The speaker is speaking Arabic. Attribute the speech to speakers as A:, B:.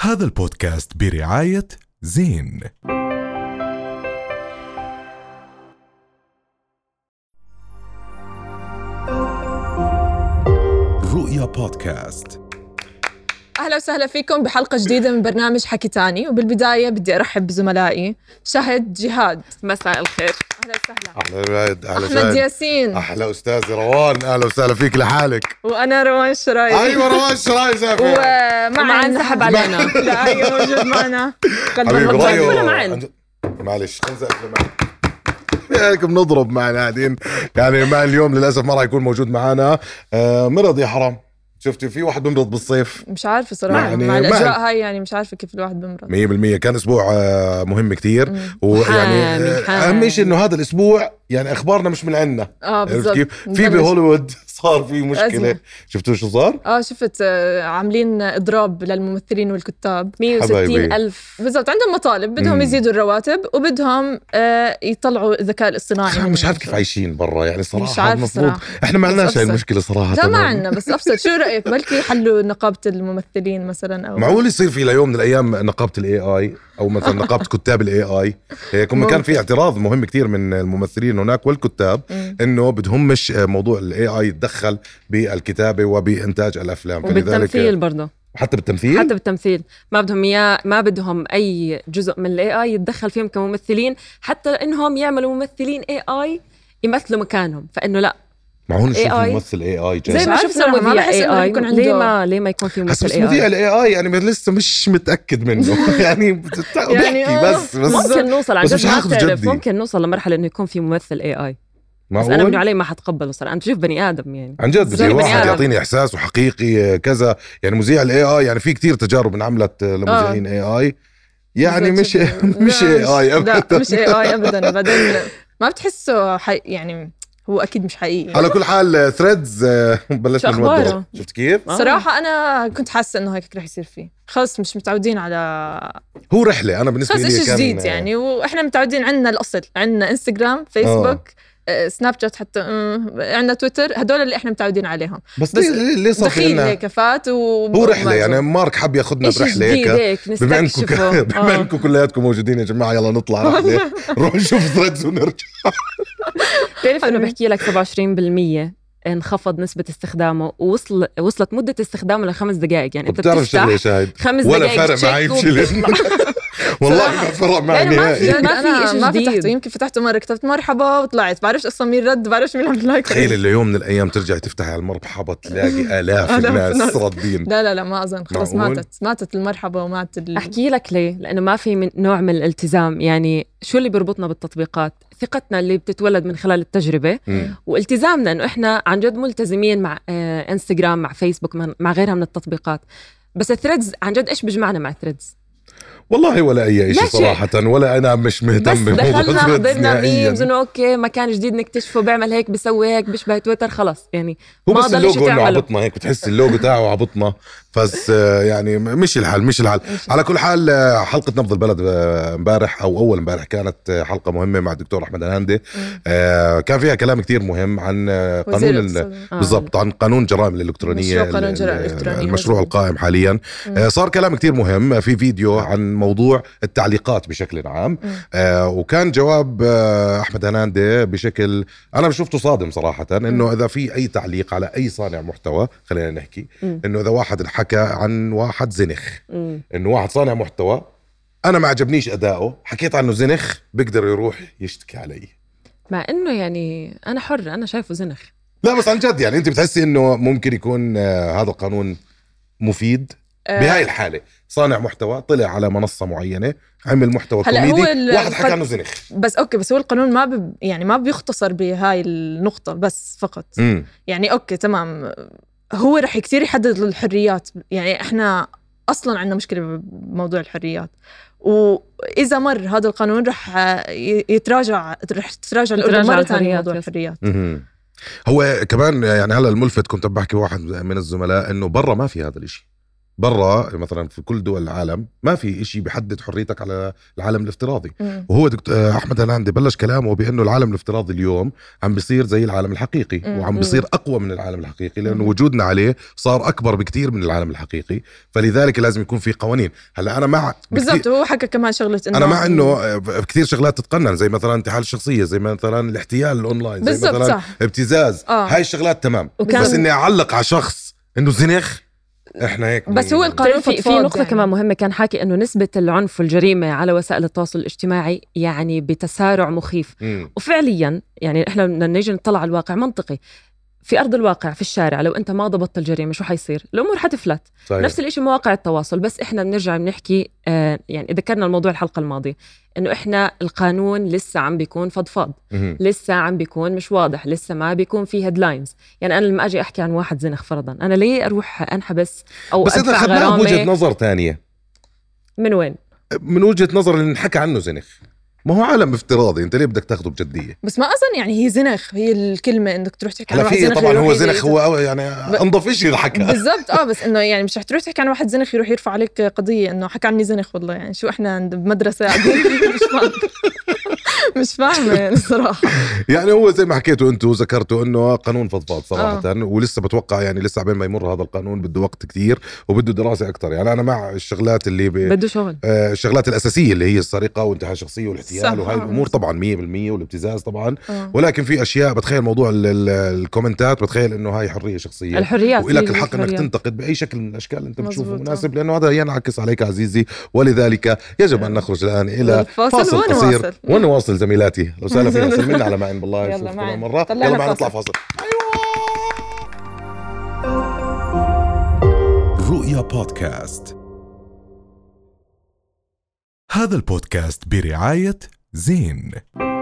A: هذا البودكاست برعاية زين رؤيا بودكاست
B: اهلا وسهلا فيكم بحلقه جديده من برنامج حكي تاني وبالبدايه بدي ارحب بزملائي شهد جهاد
C: مساء الخير
B: اهلا وسهلا
D: اهلا بلاد اهلا
B: احمد
D: وسهلا
B: ياسين
D: احلى استاذ روان اهلا وسهلا فيك لحالك
B: وانا روان شرايط
D: ايوه روان شراي سافر
B: ومع
C: ومعا انسحب علينا.
B: آه، لا أيوة موجود معنا قد
D: حبيبي
B: والله
C: رايو.
B: طيب.
C: ولا
D: رايو
C: معن؟
D: عند- معلش خمسة ألف معن. لكم نضرب معنا قاعدين يعني مع اليوم للاسف ما راح يكون موجود معنا آه مرض يا حرام شفتي في واحد بمرض بالصيف
B: مش عارفه صراحه
D: يعني
B: مع
D: ما-
B: الاجواء هاي يعني مش عارفه كيف الواحد بمرض
D: 100% كان اسبوع آه، مهم كتير
B: مم.
D: ويعني
C: حامي،
D: آه،
C: حامي.
D: اهم شيء انه هذا الاسبوع يعني اخبارنا مش من عندنا
B: اه
D: عرفت
B: بالضبط
D: كيف؟ في
B: نبلش.
D: بهوليوود صار في مشكله
B: أزمة.
D: شفتوا شو صار؟
B: اه شفت آه، عاملين اضراب للممثلين والكتاب
C: 160
D: حبايبي.
C: ألف
B: بالضبط عندهم مطالب بدهم
D: مم.
B: يزيدوا الرواتب وبدهم آه، يطلعوا الذكاء الاصطناعي من
D: مش عارف كيف
B: الشغل.
D: عايشين برا يعني صراحه
B: آه، مش عارف
D: المفروض
B: صراحه
D: احنا ما
B: بس
D: عندناش هاي
B: أبسط.
D: المشكله صراحه
B: لا ما عنا بس ابسط شو رايك بلكي يحلوا نقابه الممثلين مثلا او
D: معقول يصير في ليوم من الايام نقابه الاي اي او مثلا نقابه كتاب الاي اي هيك هم
B: ممكن.
D: كان في اعتراض مهم كثير من الممثلين هناك والكتاب
B: مم.
D: انه بدهم مش موضوع الاي اي يتدخل بالكتابه وبانتاج الافلام
C: وبالتمثيل برضه
D: حتى بالتمثيل
C: حتى بالتمثيل ما بدهم اياه ما بدهم اي جزء من الاي اي يتدخل فيهم كممثلين حتى انهم يعملوا ممثلين اي اي يمثلوا مكانهم فانه لا
D: معقول نشوف
C: AI.
D: ممثل اي اي
B: زي
D: جاي
B: ما شفنا مذيع AI.
C: ليه ما ليه ما يكون في
D: بس
C: ممثل
D: بس
C: اي
D: مذيع
C: اي
D: الاي اي يعني لسه مش متاكد منه يعني بت- بحكي
B: آه،
D: بس بس
C: ممكن نوصل عن
D: بس
C: جد
D: مش
C: ما
D: هاخذ
C: بتعرف
D: جدي.
C: ممكن نوصل لمرحله انه يكون في ممثل اي اي بس انا من
D: معقول
C: علي ما حتقبله صراحه انت شوف بني ادم يعني
D: عن جد
C: زي
D: بدي
C: بني آدم.
D: واحد يعطيني احساس وحقيقي آه، كذا يعني مذيع الاي اي يعني في كتير تجارب انعملت آه، لمذيعين اي اي يعني
B: بالضبط
D: مش
B: شفنا.
D: مش
B: لا،
D: اي اي
B: لا
D: ابدا
B: مش اي اي ابدا بعدين ما بتحسه حي... يعني هو اكيد مش حقيقي
D: على كل حال ثريدز بلشنا
C: شو أخباره؟
D: نوضح شفت كيف؟
C: آه.
B: صراحة أنا كنت حاسة إنه هيك رح يصير فيه، خلص مش متعودين على
D: هو رحله انا بالنسبه
B: خلص
D: لي
B: إشي
D: كان آه،
B: جديد يعني وإحنا متعودين عندنا الأصل، عندنا انستغرام، فيسبوك، آه، سناب شات حتى مم، عندنا تويتر، هدول اللي إحنا متعودين عليهم،
D: بس
B: بس
D: ليه- ليه ليه صار في
B: دخيل
D: لنا-
B: هيك فات و
D: هو رحله يعني مارك حب ياخذنا
C: شيء
D: برحله
C: جديد
B: إيه،
D: هيك آه.
C: هيك
D: بما انكم
C: نستكشفه
D: بما
C: آه.
D: انكم كلياتكم موجودين يا جماعه يلا نطلع رحله نروح نشوف ثريدز ونرجع
C: بتعرف انه
B: حلو.
C: بحكي لك 27% انخفض نسبة استخدامه ووصل وصلت مدة استخدامه لخمس دقائق يعني انت
D: بتعرف شغله يا
C: بتفتح
D: شاهد
C: خمس
D: ولا
C: دقائق
D: فارق معي بشيء والله ما فرق معي
C: يعني ما في-
D: نهائي
C: يعني
B: ما في
C: إشي
B: ما
C: جديد.
B: فتحته يمكن فتحته مره كتبت مرحبا وطلعت بعرفش اصلا مين رد بعرفش مين عمل لايك
D: تخيل اللي يوم من الايام ترجع تفتح على المرحبا تلاقي الاف
B: آلاف
D: الناس
B: ناس.
D: ردين
B: لا لا لا ما اظن خلص
D: معقول؟
B: ماتت ماتت المرحبا وماتت ال...
C: احكي لك ليه لانه ما في من نوع من الالتزام يعني شو اللي بيربطنا بالتطبيقات ثقتنا اللي بتتولد من خلال التجربة
D: مم.
C: والتزامنا انه احنا عن جد ملتزمين مع آه، انستغرام مع فيسبوك مع- مع غيرها من التطبيقات بس الثريدز عن جد ايش بيجمعنا مع الثريدز
D: والله ولا اي
C: لا
D: شيء
C: شيء.
D: صراحه ولا انا مش
C: بس
D: مهتم بموضوع
C: دخلنا
D: الثريدز
C: حضرنا
D: نهائياً.
C: ميمز انه اوكي مكان جديد نكتشفه بيعمل هيك بيسوي هيك بيشبه تويتر خلص يعني
D: هو
C: ما
D: بس
C: ضل شي
D: اللوجو انه
C: تعمله.
D: عبطنا هيك بتحس اللوجو تاعه عبطنا بس آه، يعني م- مش الحال مش الحال على كل حال آه، حلقه نبض البلد آه، امبارح او اول امبارح كانت آه، حلقه مهمه مع الدكتور احمد الهندي آه، كان فيها كلام كتير مهم عن آه،
B: وزير
D: قانون ال-
B: الاقتصاد.
C: آه.
D: بالضبط عن قانون الجرائم الالكترونيه
B: مشروع قانون
D: ال-
B: الجرائم
D: ال-
B: الإلكترونية.
D: المشروع
B: مزبوط.
D: القائم حاليا
B: مم.
D: آه، صار كلام كتير مهم في فيديو عن موضوع التعليقات بشكل عام
B: مم.
D: آه، وكان جواب آه، احمد هناندي بشكل انا شفته صادم صراحه انه اذا في اي تعليق على اي صانع محتوى خلينا نحكي
C: مم.
D: انه اذا واحد انحكى عن واحد زنخ
C: آه. مم.
D: انه واحد صانع محتوى انا ما عجبنيش اداؤه حكيت عنه زنخ بيقدر يروح يشتكي علي
C: مع انه يعني انا حره انا شايفه زنخ
D: لا بس عن جد يعني انت بتحسي انه ممكن يكون آه، هذا القانون مفيد
B: آه،
D: بهاي الحاله صانع محتوى طلع على منصه معينه عمل محتوى
B: هلا هو
D: كوميدي
B: ال-
D: واحد حكى
B: القد-
D: عنه زنخ
B: آه، بس اوكي بس هو القانون ما ب... يعني ما بيختصر بهاي النقطه بس فقط
D: مم.
B: يعني اوكي تمام هو رح كثير يحدد الحريات يعني احنا اصلا عندنا مشكله بموضوع الحريات واذا مر هذا القانون رح يتراجع رح تتراجع الاردن
C: يتراجع
B: مره
C: الحريات،
B: ثانيه موضوع
C: يس.
B: الحريات
D: مهم. هو كمان يعني هلا الملفت كنت عم بحكي واحد من الزملاء انه برا ما في هذا الاشي برا مثلا في كل دول العالم ما في إشي بيحدد حريتك على العالم الافتراضي
B: مم.
D: وهو دكتور آه، احمد هلاندي بلش كلامه بانه العالم الافتراضي اليوم عم بيصير زي العالم الحقيقي
B: مم.
D: وعم بيصير اقوى من العالم الحقيقي لانه
B: مم.
D: وجودنا عليه صار اكبر بكتير من العالم الحقيقي فلذلك لازم يكون في قوانين هلا انا مع
B: بالضبط هو حكى كمان شغله انه
D: انا مع انه كثير شغلات تتقنن زي مثلا انتحال الشخصيه زي مثلا الاحتيال الاونلاين زي
B: بالضبط
D: مثلا
B: صح
D: ابتزاز
B: آه.
D: هاي الشغلات تمام
E: وكان-
D: بس اني اعلق على شخص انه زنخ احنا هيك
B: بس هو القانون
C: ترى طيب، في في
B: فضفاض
C: نقطة
B: يعني.
C: كمان مهمة كان حاكي انه نسبة العنف والجريمة على وسائل التواصل الاجتماعي يعني بتسارع مخيف
D: مم.
C: وفعليا يعني احنا بدنا نيجي نطلع على الواقع منطقي في ارض الواقع في الشارع لو انت ما ضبطت الجريمه شو حيصير الامور حتفلت
D: صحيح.
C: نفس الشيء مواقع التواصل بس احنا بنرجع بنحكي آه يعني ذكرنا الموضوع الحلقه الماضيه انه احنا القانون لسه عم بيكون فضفاض
D: مم.
C: لسه عم بيكون مش واضح لسه ما بيكون في هيدلاينز يعني انا لما اجي احكي عن واحد زنخ فرضا انا ليه اروح انحبس او
D: بس اذا
C: ادفع
D: اخذناها بوجهه
C: غرامه
D: نظر ثانيه
C: من وين
D: من وجهه نظر اللي انحكى عنه زنخ ما هو عالم افتراضي انت ليه بدك تاخده بجديه
B: بس ما اظن يعني هي زنخ هي الكلمه انك تروح تحكي عن
D: هلا
B: واحد
D: في
B: زنخ
D: طبعا هو
B: يروح يجي-
D: زنخ هو أو- يعني انظف شيء حكى
B: بالضبط اه بس انه يعني مش رح تروح تحكي عن واحد زنخ يروح يرفع عليك قضيه انه حكى عني زنخ والله يعني شو احنا عند- بمدرسه قاعدين فيها؟ مش فاهمه مش فاهمه يعني صراحه
D: يعني هو زي ما حكيتوا انتم وذكرتوا انه قانون
B: آه.
D: فضفاض صراحه ولسه بتوقع يعني لسه عبين ما يمر هذا القانون بده وقت كتير وبده دراسه اكثر يعني انا مع الشغلات اللي ب...
C: بده شغل
D: آه، الشغلات الاساسيه اللي هي السرقه والانتهاء الشخصيه
B: صح.
D: والاحتيال وهي الامور طبعا 100% والابتزاز طبعا
B: آه.
D: ولكن في اشياء بتخيل موضوع ال- ال- الكومنتات بتخيل انه هاي حريه شخصيه
C: الحريات
D: إيه. وإلك
C: هي
D: الحق انك
C: الحريات.
D: تنتقد باي شكل من الاشكال اللي انت بتشوفه
B: مظبوط، آه.
D: مناسب لانه هذا ينعكس عليك عزيزي ولذلك يجب
B: آه.
D: ان نخرج الان الى
B: الفاصل
D: فاصل قصير
B: ونواصل.
D: ونواصل زميلاتي لو سهل فينا سلمنا على معين بالله
B: يلا
D: نشوف كمان
B: معين.
D: مره
B: طلعنا
D: يلا معين
B: فاصل.
D: نطلع فاصل أيوة.
A: رؤيا بودكاست هذا البودكاست برعاية زين